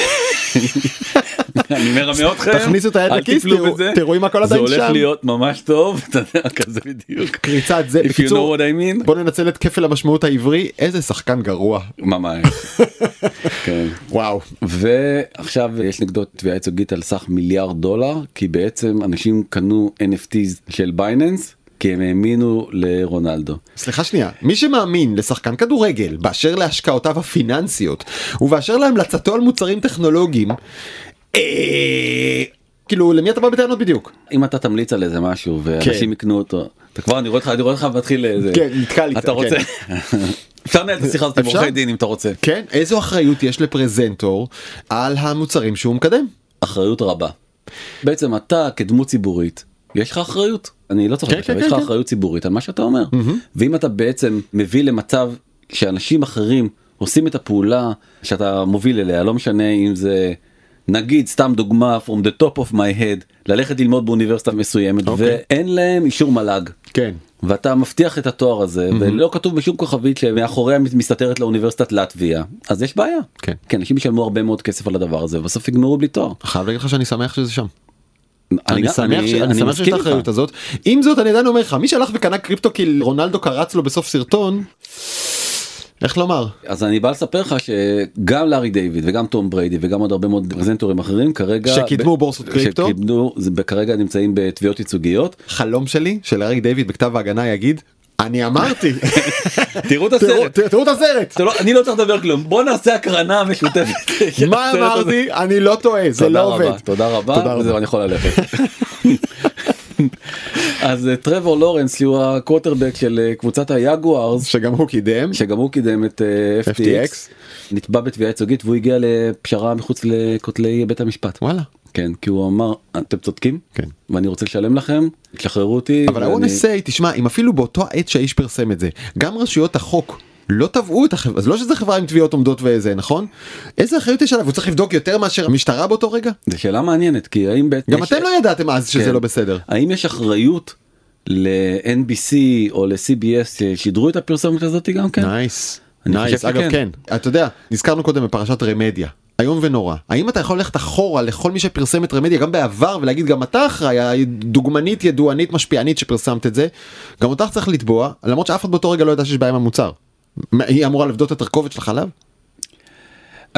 Speaker 1: אני מרמה אתכם.
Speaker 2: תכניסו את היד
Speaker 1: אל
Speaker 2: לכיס,
Speaker 1: תיפלו
Speaker 2: תראו-
Speaker 1: בזה.
Speaker 2: תראו אם הכל עדיין
Speaker 1: זה
Speaker 2: שם.
Speaker 1: הולך להיות ממש טוב אתה יודע כזה בדיוק.
Speaker 2: קריצת זה
Speaker 1: If you
Speaker 2: בקיצור
Speaker 1: know what I mean.
Speaker 2: בוא ננצל את כפל המשמעות העברי איזה שחקן גרוע
Speaker 1: ממש. כן.
Speaker 2: וואו
Speaker 1: ועכשיו יש נגדו תביעה ייצוגית על סך מיליארד דולר כי בעצם אנשים קנו NFTs של בייננס כי הם האמינו לרונלדו.
Speaker 2: סליחה שנייה מי שמאמין לשחקן כדורגל באשר להשקעותיו הפיננסיות ובאשר להמלצתו על מוצרים טכנולוגיים אה, כאילו למי אתה בא בטענות בדיוק
Speaker 1: אם אתה תמליץ על איזה משהו ואנשים
Speaker 2: כן.
Speaker 1: יקנו אותו אתה כבר אני רואה אותך אני רואה אותך מתחיל איזה
Speaker 2: כן, נתקע לי קצת,
Speaker 1: אתה רוצה אפשר לנהל את השיחה הזאת עם
Speaker 2: אפשר?
Speaker 1: עורכי דין אם אתה רוצה
Speaker 2: כן, איזו אחריות יש לפרזנטור על המוצרים שהוא מקדם?
Speaker 1: אחריות רבה. בעצם אתה כדמות ציבורית יש לך אחריות אני לא צריך
Speaker 2: כן,
Speaker 1: לחשוב
Speaker 2: כן,
Speaker 1: יש לך
Speaker 2: כן, כן.
Speaker 1: אחריות ציבורית על מה שאתה אומר ואם אתה בעצם מביא למצב שאנשים אחרים עושים את הפעולה שאתה מוביל אליה לא משנה אם זה נגיד סתם דוגמה from the top of my head ללכת ללמוד באוניברסיטה מסוימת
Speaker 2: אוקיי.
Speaker 1: ואין להם אישור מל"ג.
Speaker 2: כן.
Speaker 1: ואתה מבטיח את התואר הזה ולא כתוב בשום כוכבית שמאחוריה מסתתרת לאוניברסיטת לטביה אז יש בעיה
Speaker 2: כן.
Speaker 1: כי אנשים ישלמו הרבה מאוד כסף על הדבר הזה ובסוף יגמרו בלי תואר.
Speaker 2: חייב להגיד לך שאני שמח שזה שם. אני
Speaker 1: גם-
Speaker 2: שמח ש- אני שמח שיש את
Speaker 1: מסכים איתך.
Speaker 2: האחריות הזאת. עם זאת אני עדיין אומר לך, מי שהלך וקנה קריפטו כי רונלדו קרץ לו בסוף סרטון, איך לומר?
Speaker 1: אז אני בא לספר לך שגם לארי דיוויד וגם תום בריידי וגם עוד הרבה מאוד פרזנטורים אחרים כרגע
Speaker 2: שקידמו בורסות קריפטו?
Speaker 1: שקידמו זה- כרגע נמצאים בתביעות ייצוגיות
Speaker 2: חלום שלי שלארי דיוויד בכתב ההגנה יגיד, אני אמרתי,
Speaker 1: תראו את
Speaker 2: תראו-
Speaker 1: הסרט.
Speaker 2: תראו את הסרט.
Speaker 1: אתה לא- אני לא צריך לדבר כלום בוא נעשה הקרנה משותפת. של
Speaker 2: מה
Speaker 1: הסרט הזה.
Speaker 2: אמרתי? אני לא טועה, זה
Speaker 1: תודה רבה,
Speaker 2: לא עובד.
Speaker 1: תודה
Speaker 2: תודה
Speaker 1: רבה,
Speaker 2: רבה.
Speaker 1: וזהו אני יכול ללכת. אז אה, טרוור לורנס שהוא הקווטרבק של אה, קבוצת היגוארס
Speaker 2: שגם הוא קידם.
Speaker 1: שגם הוא קידם את אה, FTX
Speaker 2: FTX.
Speaker 1: נתבע בתביעה ייצוגית והוא הגיע לפשרה מחוץ לכותלי בית המשפט.
Speaker 2: וואלה.
Speaker 1: כן כי הוא אמר אתם צודקים
Speaker 2: כן. ואני
Speaker 1: ואני רוצה לשלם לכם תשחררו אותי
Speaker 2: אבל
Speaker 1: ואני-
Speaker 2: ה-NSA, תשמע, אם אפילו באותו העת שהאיש פרסם את זה, גם רשויות החוק לא תבעו את החברה, אז לא שזה חברה עם תביעות עומדות וזה, נכון? איזה אחריות יש עליו? הוא צריך לבדוק יותר מאשר המשטרה באותו רגע?
Speaker 1: זו שאלה מעניינת כי האם בעצם
Speaker 2: גם
Speaker 1: יש-
Speaker 2: אתם לא ידעתם אז שזה
Speaker 1: כן.
Speaker 2: לא בסדר.
Speaker 1: האם יש אחריות ל-NBC או ל-CBS ששידרו את הפרסומת הזאת גם
Speaker 2: לא.
Speaker 1: כן
Speaker 2: נייס.
Speaker 1: אני
Speaker 2: נייס.
Speaker 1: חושב
Speaker 2: אגב,
Speaker 1: שכן.
Speaker 2: כן. אתה יודע, נזכרנו קודם בפרשת רמדיה. איום ונורא. האם אתה יכול ללכת אחורה לכל מי שפרסם את רמדיה גם בעבר ולהגיד גם אתה אחראי, דוגמנית, ידוענית, משפיענית שפרסמת את זה, גם אותך צריך לתבוע, למרות שאף אחד באותו רגע לא ידע שיש בעיה עם המוצר. מה, היא אמורה לבדות את הרכובת של החלב?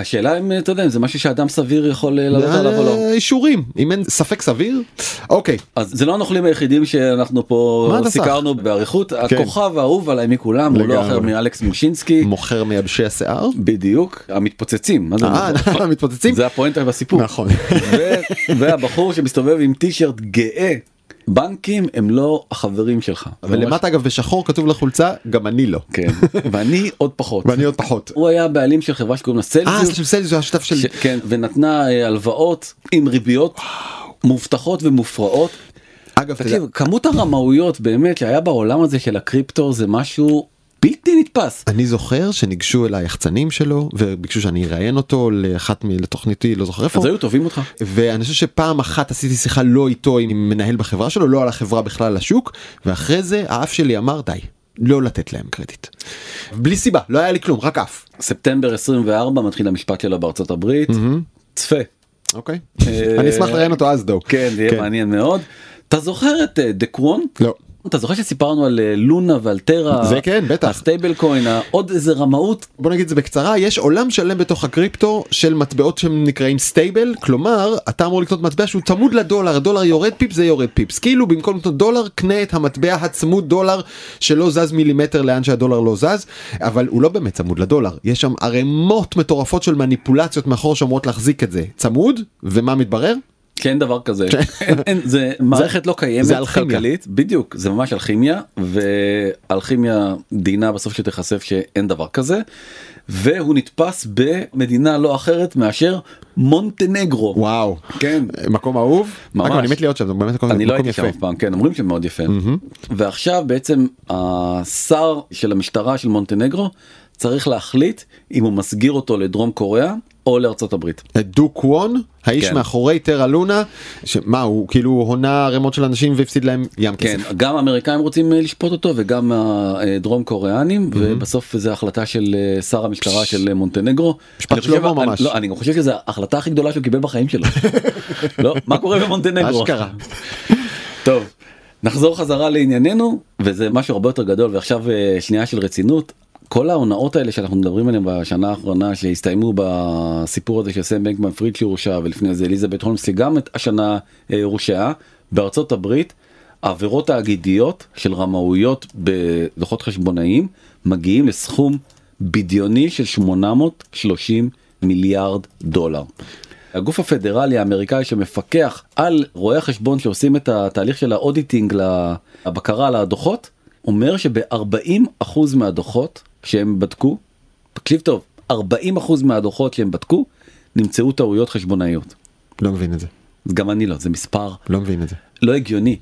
Speaker 1: השאלה אם אתה יודע אם זה משהו שאדם סביר יכול אה, לעלות עליו או לא.
Speaker 2: אה, אישורים, אם אין ספק סביר. אוקיי,
Speaker 1: אז זה לא הנוכלים היחידים שאנחנו פה
Speaker 2: מה אתה כן.
Speaker 1: סיקרנו באריכות הכוכב האהוב עליי מכולם הוא לא
Speaker 2: לגמרי.
Speaker 1: אחר מאלכס מושינסקי
Speaker 2: מוכר מייבשי השיער?
Speaker 1: בדיוק המתפוצצים מה זה
Speaker 2: אה,
Speaker 1: המתפוצצים?
Speaker 2: המתפוצצים?
Speaker 1: זה הפואנטה בסיפור
Speaker 2: נכון.
Speaker 1: ו- והבחור שמסתובב עם טישרט גאה בנקים הם לא החברים שלך
Speaker 2: ולמטה אגב בשחור כתוב לחולצה, גם אני לא.
Speaker 1: כן ואני עוד פחות
Speaker 2: ואני עוד פחות.
Speaker 1: הוא היה הבעלים של חברה שקוראים לה
Speaker 2: אה,
Speaker 1: סלזיוס
Speaker 2: סליחה, סליחה, זה השותף של...
Speaker 1: ש- כן ונתנה אה, הלוואות עם ריביות מובטחות ומופרעות.
Speaker 2: אגב, אתה יודע-
Speaker 1: תקשיב כמות הרמאויות באמת שהיה בעולם הזה של הקריפטו זה משהו בלתי נתפס.
Speaker 2: אני זוכר שניגשו אליי יחצנים שלו וביקשו שאני אראיין אותו לאחת מ- לתוכניתי לא זוכר איפה
Speaker 1: אז היו תובעים אותך.
Speaker 2: ואני חושב שפעם אחת עשיתי שיחה לא איתו עם מנהל בחברה שלו לא על החברה בכלל על השוק ואחרי זה האף שלי אמר די לא לתת להם קרדיט. בלי סיבה לא היה לי כלום רק אף.
Speaker 1: ספטמבר 24 מתחיל המשפט שלו בארצות הברית. צפה.
Speaker 2: אוקיי. אני אשמח לראיין אותו אז דו.
Speaker 1: אה, כן זה יהיה מעניין מאוד. אתה זוכר את אה, דקרון?
Speaker 2: לא.
Speaker 1: אתה זוכר שסיפרנו על אה, לונה ועל טרה?
Speaker 2: זה כן, בטח.
Speaker 1: הסטייבל קוין, עוד איזה רמאות
Speaker 2: בוא נגיד את זה בקצרה יש עולם שלם בתוך הקריפטו של מטבעות שהם נקראים סטייבל כלומר אתה אמור לקנות מטבע שהוא צמוד לדולר הדולר יורד פיפס זה יורד פיפס כאילו במקום לקנות דולר קנה את המטבע הצמוד דולר שלא זז מילימטר לאן שהדולר לא זז אבל הוא לא באמת צמוד לדולר יש שם ערימות מטורפות של מניפולציות מאחור שאמורות להחזיק את זה צמוד ומה מתברר
Speaker 1: שאין דבר כזה אין, אין, זה מערכת לא קיימת
Speaker 2: כן. זה אלכימיה.
Speaker 1: כלכלית בדיוק זה ממש אלכימיה ואלכימיה דינה בסוף שתיחשף שאין דבר כזה והוא נתפס במדינה לא אחרת מאשר מונטנגרו.
Speaker 2: וואו
Speaker 1: כן.
Speaker 2: מקום אהוב
Speaker 1: ממש.
Speaker 2: אגב, אני מת להיות שם זה באמת מקום,
Speaker 1: אני לא
Speaker 2: מקום
Speaker 1: הייתי שם
Speaker 2: יפה.
Speaker 1: אף פעם כן אומרים שמאוד יפה ועכשיו בעצם השר של המשטרה של מונטנגרו צריך להחליט אם הוא מסגיר אותו לדרום קוריאה או לארצות הברית.
Speaker 2: דו קוון האיש
Speaker 1: כן.
Speaker 2: מאחורי טרה לונה שמה הוא כאילו הונה ערימות של אנשים והפסיד להם ים
Speaker 1: כן,
Speaker 2: כסף.
Speaker 1: גם האמריקאים רוצים אה, לשפוט אותו וגם הדרום קוריאנים ובסוף זו החלטה של אה, שר המשטרה של אה, מונטנגרו.
Speaker 2: משפט
Speaker 1: אני חושב-
Speaker 2: שלמה
Speaker 1: אני-
Speaker 2: ממש.
Speaker 1: לא, אני גם חושב שזו ההחלטה הכי גדולה שהוא קיבל בחיים שלו. לא, מה קורה במונטנגרו?
Speaker 2: אשכרה.
Speaker 1: טוב, נחזור חזרה לענייננו וזה משהו הרבה יותר גדול ועכשיו אה, שנייה של רצינות. כל ההונאות האלה שאנחנו מדברים עליהן בשנה האחרונה שהסתיימו בסיפור הזה של סם בנקמן פריד שהורשע ולפני זה אליזבת הולמסי גם את השנה אה, הורשעה בארצות הברית. העבירות האגידיות של רמאויות בדוחות חשבונאיים מגיעים לסכום בדיוני של 830 מיליארד דולר. הגוף הפדרלי האמריקאי שמפקח על רואי החשבון שעושים את התהליך של האודיטינג לבקרה על הדוחות, אומר שב-40% מהדוחות שהם בדקו, תקשיב טוב, 40% מהדוחות שהם בדקו, נמצאו טעויות חשבונאיות.
Speaker 2: לא מבין את זה.
Speaker 1: גם אני לא, זה מספר
Speaker 2: לא מבין את זה.
Speaker 1: לא הגיוני.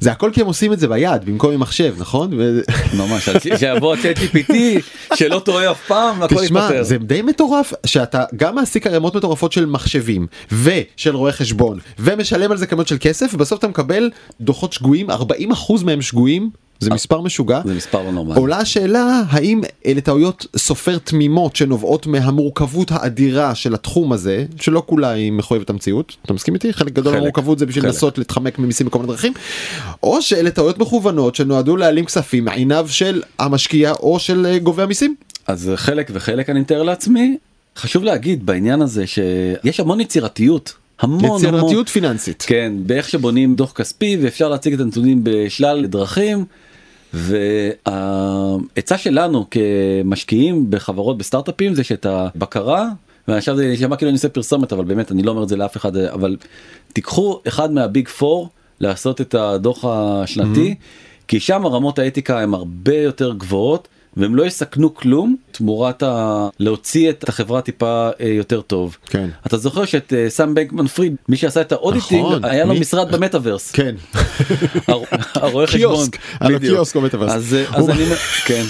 Speaker 2: זה הכל כי הם עושים את זה ביד במקום עם מחשב נכון? ו-
Speaker 1: ממש, אז ש- שיבוא צ'אט GPT שלא טועה אף פעם, הכל
Speaker 2: תשמע
Speaker 1: יתפטר.
Speaker 2: זה די מטורף שאתה גם מעסיק ערימות מטורפות של מחשבים ושל רואי חשבון ומשלם על זה כמות של כסף ובסוף אתה מקבל דוחות שגויים 40% מהם שגויים זה מספר משוגע.
Speaker 1: זה מספר לא נורמלי.
Speaker 2: עולה השאלה האם אלה טעויות סופר תמימות שנובעות מהמורכבות האדירה של התחום הזה שלא כולה היא מחויבת המציאות אתה מסכים איתי חלק גדול
Speaker 1: חלק,
Speaker 2: מהמורכבות זה בשביל
Speaker 1: חלק.
Speaker 2: לנסות להתחמק ממיסים בכל מיני דרכים או שאלה טעויות מכוונות שנועדו להעלים כספים מעיניו של המשקיע או של אה, גובה המיסים.
Speaker 1: אז חלק וחלק אני מתאר לעצמי. חשוב להגיד בעניין הזה שיש המון יצירתיות. המון המון.
Speaker 2: יצירתיות פיננסית.
Speaker 1: כן, באיך שבונים דוח כספי ואפשר להציג את הנתונים בשלל דרכים. והעצה שלנו כמשקיעים בחברות בסטארט-אפים זה שאת הבקרה, ועכשיו זה נשמע כאילו אני עושה פרסומת אבל באמת אני לא אומר את זה לאף אחד אבל תיקחו אחד מהביג פור לעשות את הדוח השנתי כי שם רמות האתיקה הן הרבה יותר גבוהות והם לא יסכנו כלום תמורת ה... להוציא את החברה טיפה אה, יותר טוב.
Speaker 2: כן.
Speaker 1: אתה זוכר שאת אה, סם בנקמן פריד מי שעשה את האודיט
Speaker 2: נכון,
Speaker 1: נכון, היה לו
Speaker 2: מי-
Speaker 1: משרד במטאוורס.
Speaker 2: כן.
Speaker 1: הר- הרואה חשבון.
Speaker 2: קיוסק, על
Speaker 1: בדיוק.
Speaker 2: הקיוסק במטאוורס.
Speaker 1: אז אה, אז
Speaker 2: הוא-
Speaker 1: אני... מ- כן.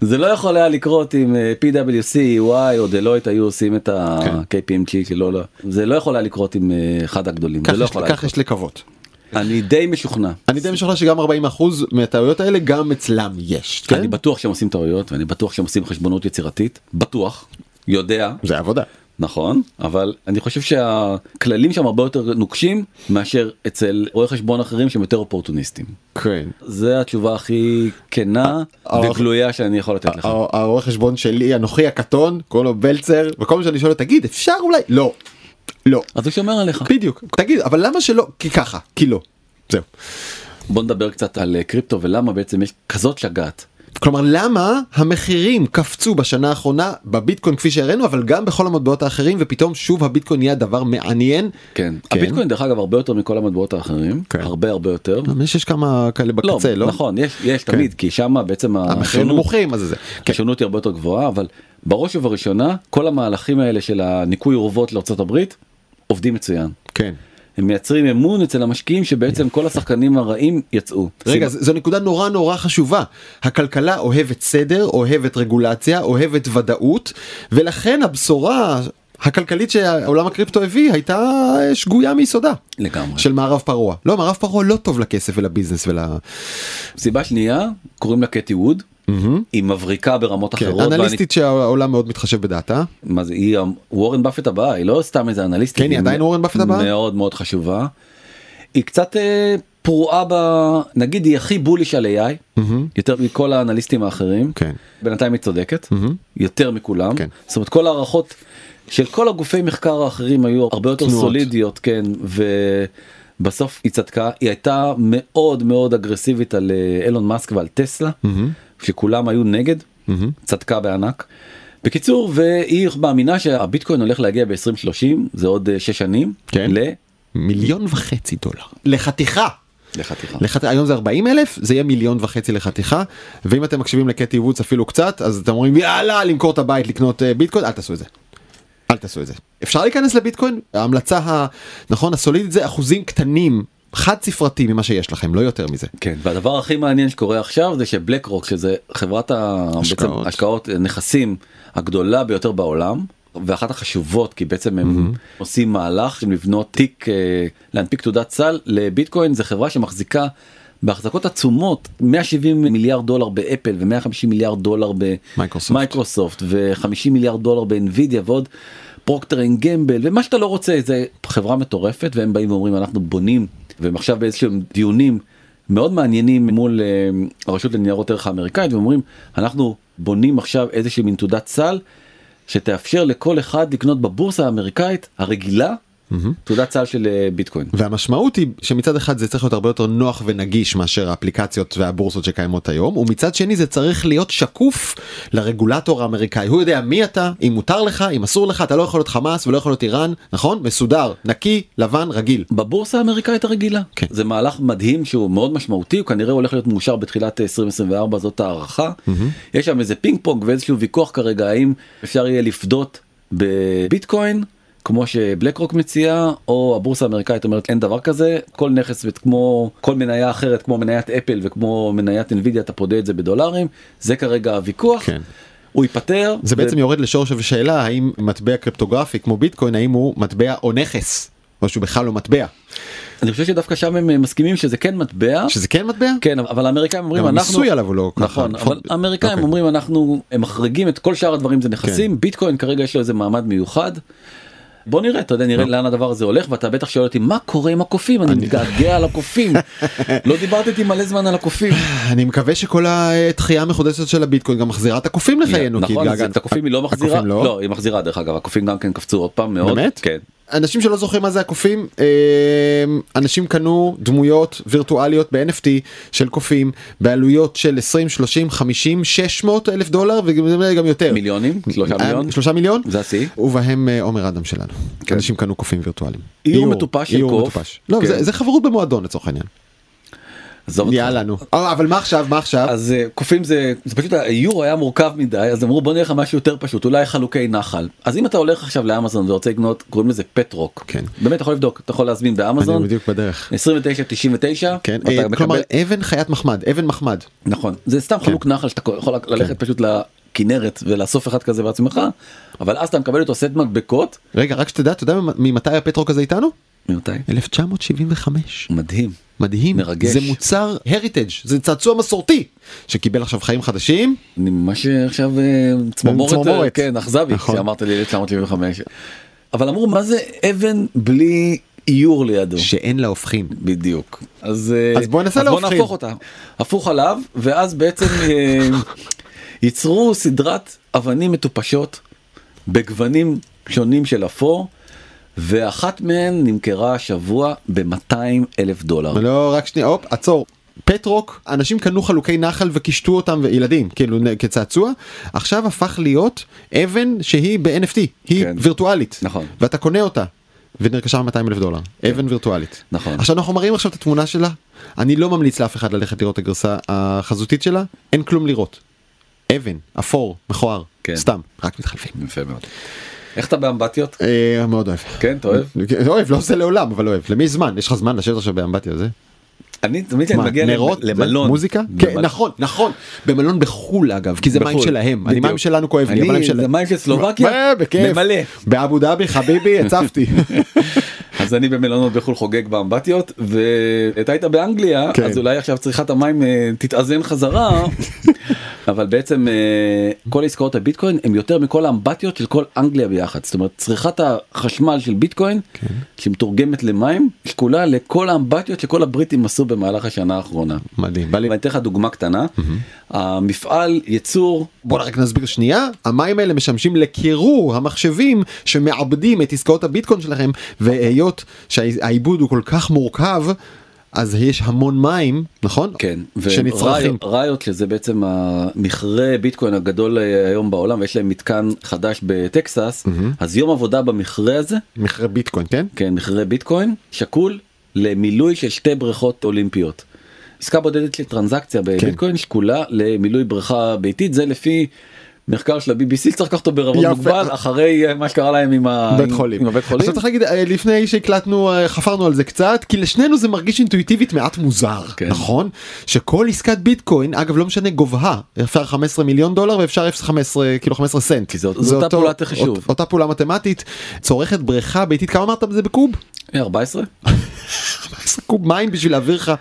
Speaker 1: זה לא יכול היה לקרות אם אה, PwC, EY או דלויט היו עושים את
Speaker 2: כן.
Speaker 1: ה-KPMG שלא, לא. זה לא יכול היה לקרות עם אה, אחד הגדולים. זה
Speaker 2: כך
Speaker 1: לא
Speaker 2: יש-
Speaker 1: יכול היה
Speaker 2: כך
Speaker 1: לקרות.
Speaker 2: יש לקוות.
Speaker 1: אני די משוכנע.
Speaker 2: אני די משוכנע שגם 40% מהטעויות האלה גם אצלם יש.
Speaker 1: אני
Speaker 2: כן?
Speaker 1: בטוח שהם עושים טעויות ואני בטוח שהם עושים חשבונות יצירתית. בטוח. יודע.
Speaker 2: זה עבודה.
Speaker 1: נכון אבל אני חושב שהכללים שם הרבה יותר נוקשים מאשר אצל רואי חשבון אחרים שהם יותר אופורטוניסטים.
Speaker 2: כן.
Speaker 1: זה התשובה הכי כנה
Speaker 2: אבל-
Speaker 1: וגלויה שאני יכול לתת לך.
Speaker 2: הר- הרואה חשבון שלי אנוכי הקטון קוראים לו בלצר וכל מה שאני שואל אותו, תגיד אפשר אולי לא. לא.
Speaker 1: אז הוא שומר עליך.
Speaker 2: בדיוק. תגיד אבל למה שלא כי ככה כי לא. זהו.
Speaker 1: בוא נדבר קצת על אה, קריפטו ולמה בעצם יש כזאת שגעת.
Speaker 2: כלומר למה המחירים קפצו בשנה האחרונה בביטקוין כפי שהראינו אבל גם בכל המטבעות האחרים ופתאום שוב הביטקוין נהיה דבר מעניין.
Speaker 1: כן. הביטקוין דרך אגב הרבה יותר מכל המטבעות האחרים.
Speaker 2: כן.
Speaker 1: הרבה הרבה יותר.
Speaker 2: למה יש יש כמה כאלה בקצה לא? אה,
Speaker 1: נכון יש יש תמיד כי שם בעצם
Speaker 2: המחירים
Speaker 1: השונות-
Speaker 2: נמוכים אז זה. כן.
Speaker 1: השונות היא הרבה יותר גבוהה אבל בראש ובראשונה כל המהלכים האלה של הניקוי אורוות לארה"ב עובדים מצוין.
Speaker 2: כן.
Speaker 1: הם מייצרים אמון אצל המשקיעים שבעצם כל השחקנים הרעים יצאו.
Speaker 2: רגע,
Speaker 1: סיבה-
Speaker 2: ז- זו נקודה נורא נורא חשובה. הכלכלה אוהבת סדר, אוהבת רגולציה, אוהבת ודאות, ולכן הבשורה הכלכלית שהעולם הקריפטו הביא הייתה אה, שגויה מיסודה.
Speaker 1: לגמרי.
Speaker 2: של מערב פרוע. לא, מערב פרוע לא טוב לכסף ולביזנס ול...
Speaker 1: סיבה שנייה קוראים לה קטי ווד. היא מבריקה ברמות
Speaker 2: כן,
Speaker 1: אחרות.
Speaker 2: אנליסטית שהעולם מאוד מתחשב בדעתה.
Speaker 1: ואני- מה זה היא ה- וורן באפט הבאה היא לא סתם איזה אנליסטית.
Speaker 2: כן, היא עדיין
Speaker 1: מא-
Speaker 2: וורן באפט הבאה?
Speaker 1: מאוד מאוד חשובה. היא קצת אה, פרועה ב... נגיד היא הכי בוליש על AI יותר מכל האנליסטים האחרים.
Speaker 2: כן.
Speaker 1: בינתיים היא צודקת יותר מכולם.
Speaker 2: כן.
Speaker 1: זאת אומרת כל ההערכות של כל הגופי מחקר האחרים היו הרבה יותר
Speaker 2: צנועות.
Speaker 1: סולידיות כן ובסוף היא צדקה היא הייתה מאוד מאוד אגרסיבית על אה, אילון מאסק ועל טסלה שכולם היו נגד צדקה בענק. בקיצור והיא מאמינה שהביטקוין הולך להגיע ב-2030 זה עוד אה, שש שנים
Speaker 2: כן.
Speaker 1: ל...
Speaker 2: מיליון וחצי דולר. לחתיכה.
Speaker 1: לחתיכה.
Speaker 2: לחת... היום זה 40 אלף זה יהיה מיליון וחצי לחתיכה ואם אתם מקשיבים לקטי וודס אפילו קצת אז אתם אומרים יאללה למכור את הבית לקנות אה, ביטקוין אל תעשו את זה. אל תעשו את זה. אפשר להיכנס לביטקוין ההמלצה ה- נכון הסולידית זה אחוזים קטנים חד ספרתי ממה שיש לכם לא יותר מזה.
Speaker 1: כן, והדבר הכי מעניין שקורה עכשיו זה שבלק רוק שזה חברת ה...
Speaker 2: השקעות.
Speaker 1: בעצם השקעות אה, נכסים הגדולה ביותר בעולם ואחת החשובות כי בעצם הם עושים מהלך של לבנות תיק אה, להנפיק תעודת סל לביטקוין זה חברה שמחזיקה בהחזקות עצומות 170 מיליארד דולר באפל ו150 מיליארד דולר
Speaker 2: מייקרוסופט.
Speaker 1: במייקרוסופט ו50 מיליארד דולר באנווידיה ועוד. פרוקטר אנד גמבל ומה שאתה לא רוצה זה חברה מטורפת והם באים ואומרים אנחנו בונים והם עכשיו באיזשהם דיונים מאוד מעניינים מול אה, הרשות לניירות ערך האמריקאית ואומרים אנחנו בונים עכשיו איזושהי מין תעודת סל שתאפשר לכל אחד לקנות בבורסה האמריקאית הרגילה תעודת סל של אה, ביטקוין.
Speaker 2: והמשמעות היא שמצד אחד זה צריך להיות הרבה יותר נוח ונגיש מאשר האפליקציות והבורסות שקיימות היום ומצד שני זה צריך להיות שקוף לרגולטור האמריקאי הוא יודע מי אתה אם מותר לך אם אסור לך אתה לא יכול להיות חמאס ולא יכול להיות איראן נכון מסודר נקי לבן רגיל.
Speaker 1: בבורסה האמריקאית הרגילה.
Speaker 2: כן.
Speaker 1: זה מהלך מדהים שהוא מאוד משמעותי, הוא כנראה הולך להיות מאושר בתחילת אה, 2024, זאת הערכה. יש שם איזה פינג פונג ואיזשהו ויכוח כרגע האם אפשר יהיה לפדות בביטקוין. כמו שבלק רוק מציעה או הבורסה האמריקאית אומרת אין דבר כזה כל נכס ואת- כמו כל מניה אחרת כמו מניית אפל וכמו מניית אינווידיה אתה פודה את זה בדולרים זה כרגע הוויכוח
Speaker 2: כן.
Speaker 1: הוא ייפתר
Speaker 2: זה בעצם יורד לשורש השאלה האם מטבע קריפטוגרפי כמו ביטקוין האם הוא מטבע או נכס או שהוא בכלל לא מטבע
Speaker 1: אני חושב שדווקא שם הם אה, מסכימים שזה כן מטבע
Speaker 2: שזה כן מטבע?
Speaker 1: כן אבל האמריקאים אומרים
Speaker 2: גם
Speaker 1: אנחנו
Speaker 2: המיסוי עליו הוא לא ככה.
Speaker 1: נכון
Speaker 2: נכון.
Speaker 1: אבל האמריקאים
Speaker 2: אוקיי. כן.
Speaker 1: אומרים אנחנו הם מחריגים את כל שאר הדברים זה נכסים ביטקוין כרגע יש לו איזה מעמד מיוחד. בוא נראה אתה יודע נראה לאן הדבר הזה הולך ואתה בטח שואל אותי מה קורה עם הקופים אני מתגעגע על הקופים לא דיברת איתי מלא זמן על הקופים.
Speaker 2: אני מקווה שכל הדחייה המחודשת של הביטקוין גם מחזירה את הקופים לחיינו. כי
Speaker 1: נכון אז
Speaker 2: התגעגענו.
Speaker 1: את הקופים היא לא מחזירה
Speaker 2: הקופים לא?
Speaker 1: לא היא מחזירה דרך אגב הקופים גם כן קפצו עוד פעם מאוד
Speaker 2: באמת?
Speaker 1: כן.
Speaker 2: אנשים שלא זוכרים מה זה הקופים אה, אנשים קנו דמויות וירטואליות ב-NFT של קופים בעלויות של 20 30 50 600 אלף דולר וגם גם יותר
Speaker 1: מיליונים? שלושה
Speaker 2: אה,
Speaker 1: מיליון?
Speaker 2: שלושה מיליון
Speaker 1: זה השיא. כן.
Speaker 2: ובהם אה, עומר אדם שלנו אנשים קנו קופים וירטואליים
Speaker 1: איור מטופש של
Speaker 2: איור
Speaker 1: קוף.
Speaker 2: מטופש. לא,
Speaker 1: כן.
Speaker 2: זה, זה חברות במועדון לצורך העניין
Speaker 1: עזוב אותך.
Speaker 2: יאללה נו אה, אבל מה עכשיו מה עכשיו
Speaker 1: אז אה, קופים זה, זה פשוט האיור היה מורכב מדי אז אמרו בוא נלך על משהו יותר פשוט אולי חלוקי נחל אז אם אתה הולך עכשיו לאמזון ורוצה לקנות קוראים לזה פטרוק
Speaker 2: כן.
Speaker 1: באמת אתה יכול לבדוק אתה יכול להזמין באמזון
Speaker 2: אני בדיוק בדרך
Speaker 1: 29.99
Speaker 2: כן
Speaker 1: ואתה
Speaker 2: אה,
Speaker 1: מקבל-
Speaker 2: כלומר כן. אבן חיית מחמד אבן מחמד
Speaker 1: נכון זה סתם חלוק נחל שאתה יכול ללכת
Speaker 2: כן.
Speaker 1: פשוט לכנרת ולאסוף אחד כזה בעצמך אבל אז אתה מקבל אותו סט מדבקות
Speaker 2: רגע רק שתדע אתה יודע ממתי הפטרוק הזה איתנו
Speaker 1: ממתי
Speaker 2: 1975.
Speaker 1: מדהים
Speaker 2: מדהים
Speaker 1: מרגש.
Speaker 2: זה מוצר הריטג' זה צעצוע מסורתי שקיבל עכשיו חיים חדשים
Speaker 1: אני ממש אה, עכשיו אה, צמרמורת אה,
Speaker 2: צמרמורת.
Speaker 1: כן אכזבי
Speaker 2: נכון.
Speaker 1: שאמרת לי 1975 אבל אמרו מה זה אבן בלי איור לידו.
Speaker 2: שאין לה הופכין.
Speaker 1: בדיוק. אז, אה,
Speaker 2: אז בוא ננסה
Speaker 1: בוא
Speaker 2: להופכים.
Speaker 1: נהפוך אותה. הפוך עליו, ואז בעצם אה, ייצרו סדרת אבנים מטופשות בגוונים שונים של אפור, ואחת מהן נמכרה השבוע ב-200 אלף דולר.
Speaker 2: לא רק שנייה הופ עצור. פטרוק אנשים קנו חלוקי נחל וקישטו אותם וילדים כאילו נ- כצעצוע עכשיו הפך להיות אבן שהיא ב-NFT היא
Speaker 1: כן.
Speaker 2: וירטואלית
Speaker 1: נכון. כן.
Speaker 2: ואתה קונה אותה ונרכשה 200 אלף דולר אבן וירטואלית
Speaker 1: נכון.
Speaker 2: עכשיו אנחנו מראים עכשיו את התמונה שלה אני לא ממליץ לאף אחד ללכת לראות את הגרסה החזותית שלה אין כלום לראות. אבן אפור מכוער
Speaker 1: כן.
Speaker 2: סתם רק מתחלפים.
Speaker 1: יפה מאוד. איך אתה באמבטיות?
Speaker 2: אה, מאוד אוהב.
Speaker 1: כן, אתה אוהב?
Speaker 2: כן, אוהב, לא עושה לעולם, אבל אוהב. למי יש זמן? יש לך זמן לשבת עכשיו באמבטיה זה?
Speaker 1: אני תמיד כשאני
Speaker 2: מה,
Speaker 1: מגיע
Speaker 2: נרות?
Speaker 1: למ- כן, למלון.
Speaker 2: זה? מוזיקה? כן,
Speaker 1: במל-
Speaker 2: נכון, נכון. במלון בחו"ל אגב, כי זה מים
Speaker 1: בחו"ל.
Speaker 2: שלהם. אני
Speaker 1: בדיוק.
Speaker 2: מים שלנו כואב לי,
Speaker 1: אני-
Speaker 2: אבל מים שלהם.
Speaker 1: זה מים של סלובקיה?
Speaker 2: מה, בכיף.
Speaker 1: ממלא.
Speaker 2: באבו דאבי, חביבי, הצפתי.
Speaker 1: אז אני במלונות בחו"ל חוגג באמבטיות ואתה היית באנגליה
Speaker 2: כן.
Speaker 1: אז אולי עכשיו צריכת המים אה, תתאזן חזרה אבל בעצם אה, כל עסקאות הביטקוין הם יותר מכל האמבטיות של כל אנגליה ביחד זאת אומרת צריכת החשמל של ביטקוין
Speaker 2: כן.
Speaker 1: שמתורגמת למים שקולה לכל האמבטיות שכל הבריטים עשו במהלך השנה האחרונה.
Speaker 2: מדהים. בא לי-
Speaker 1: ואני אתן לך דוגמה קטנה המפעל ייצור
Speaker 2: בוא רק נסביר שנייה, המים האלה משמשים לקירור המחשבים שמעבדים את עסקאות הביטקוין שלכם, והיות שהעיבוד הוא כל כך מורכב, אז יש המון מים, נכון?
Speaker 1: כן,
Speaker 2: שנצרכים.
Speaker 1: ראיות שזה בעצם המכרה ביטקוין הגדול אה, היום בעולם ויש להם מתקן חדש בטקסס אז יום עבודה במכרה הזה
Speaker 2: מכרה ביטקוין, כן?
Speaker 1: כן מכרה ביטקוין שקול למילוי של שתי בריכות אולימפיות. עסקה בודדת של טרנזקציה
Speaker 2: כן.
Speaker 1: בביטקוין שקולה למילוי בריכה ביתית זה לפי. מחקר של ה-BBC צריך לקחת אותו בערבון
Speaker 2: יפה.
Speaker 1: מוגבל אחרי אה, מה שקרה להם עם ה-
Speaker 2: בית
Speaker 1: עם-
Speaker 2: חולים.
Speaker 1: עם הבית חולים.
Speaker 2: עכשיו צריך להגיד אה, לפני שהקלטנו אה, חפרנו על זה קצת כי לשנינו זה מרגיש אינטואיטיבית מעט מוזר
Speaker 1: כן.
Speaker 2: נכון שכל עסקת ביטקוין אגב לא משנה גובהה אפשר 15 מיליון דולר ואפשר 15 כאילו 15 סנט
Speaker 1: זה אותו- זו אותה
Speaker 2: אותו-
Speaker 1: פעולת חישוב.
Speaker 2: אות- אותה פעולה מתמטית צורכת בריכה ביתית כמה אמרת זה בקוב
Speaker 1: אה, 14?
Speaker 2: קוב מים בשביל להעביר לך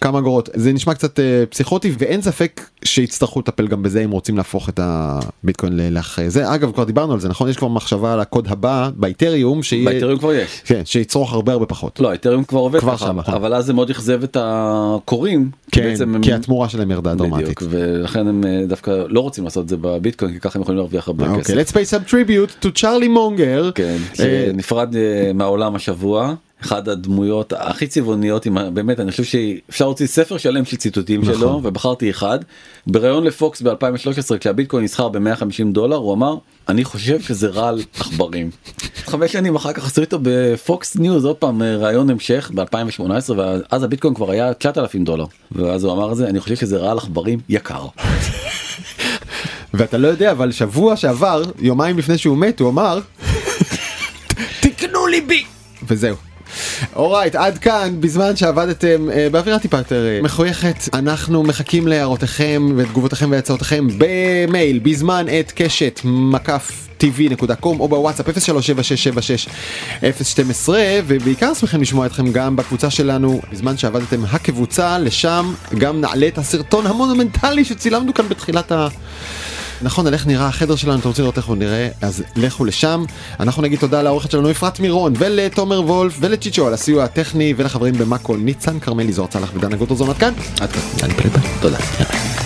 Speaker 2: כמה אגורות זה נשמע קצת אה, פסיכוטי ואין ספק שיצטרכו לטפל גם בזה אם רוצים להפוך את הביטקוין לאח זה אגב כבר דיברנו על זה נכון יש כבר מחשבה על הקוד הבא באיתריום שיהיה
Speaker 1: באתרים כבר יש.
Speaker 2: כן, שיצרוך הרבה הרבה פחות
Speaker 1: לא, האתרים כבר עובד
Speaker 2: כבר
Speaker 1: ככה,
Speaker 2: שם, נכון.
Speaker 1: אבל אז זה מאוד אכזב את הקוראים. כי בעצם
Speaker 2: כן
Speaker 1: הם-
Speaker 2: כי התמורה שלהם ירדה דרמטית.
Speaker 1: בדיוק, ולכן הם אה, דווקא לא רוצים לעשות את זה בביטקוין, כי ככה הם יכולים להרוויח הרבה כסף.
Speaker 2: אוקיי, let's pay some tribute to צ'ארלי מונגר.
Speaker 1: כן,
Speaker 2: אה,
Speaker 1: שנפרד אה, מהעולם השבוע. אחד הדמויות הכי צבעוניות, עם ה- באמת אני חושב שאפשר להוציא ספר שלם של ציטוטים שלו
Speaker 2: נכון.
Speaker 1: ובחרתי אחד. בריאיון לפוקס ב-2013 כשהביטקוין נסחר ב-150 דולר הוא אמר אני חושב שזה רעל עכברים. חמש שנים אחר כך עשו איתו בפוקס ניוז עוד פעם אה, ראיון המשך ב-2018 ואז הביטקוין כבר היה 9,000 דולר ואז הוא אמר את זה אני חושב שזה רעל עכברים יקר.
Speaker 2: ואתה לא יודע, אבל שבוע שעבר, יומיים לפני שהוא מת, הוא אמר, תקנו לי בי! וזהו. אורייט, עד כאן, בזמן שעבדתם אה, באווירה טיפה יותר אה, מחויכת, אנחנו מחכים להערותיכם ותגובותיכם והצעותיכם במייל, בזמן את קשת מקף tv.com או בוואטסאפ 0376761012 ובעיקר שמחים לשמוע אתכם גם בקבוצה שלנו, בזמן שעבדתם הקבוצה, לשם גם נעלה את הסרטון המונומנטלי שצילמנו כאן בתחילת ה... נכון, על איך נראה החדר שלנו, אתם רוצים לראות איך הוא נראה, אז לכו לשם. אנחנו נגיד תודה לעורכת שלנו אפרת מירון, ולתומר וולף, ולצ'יצ'ו על הסיוע הטכני, ולחברים במאקו ניצן, כרמלי זוהר צלח ודנה גוטרזון עד כאן.
Speaker 1: עד כאן. תודה.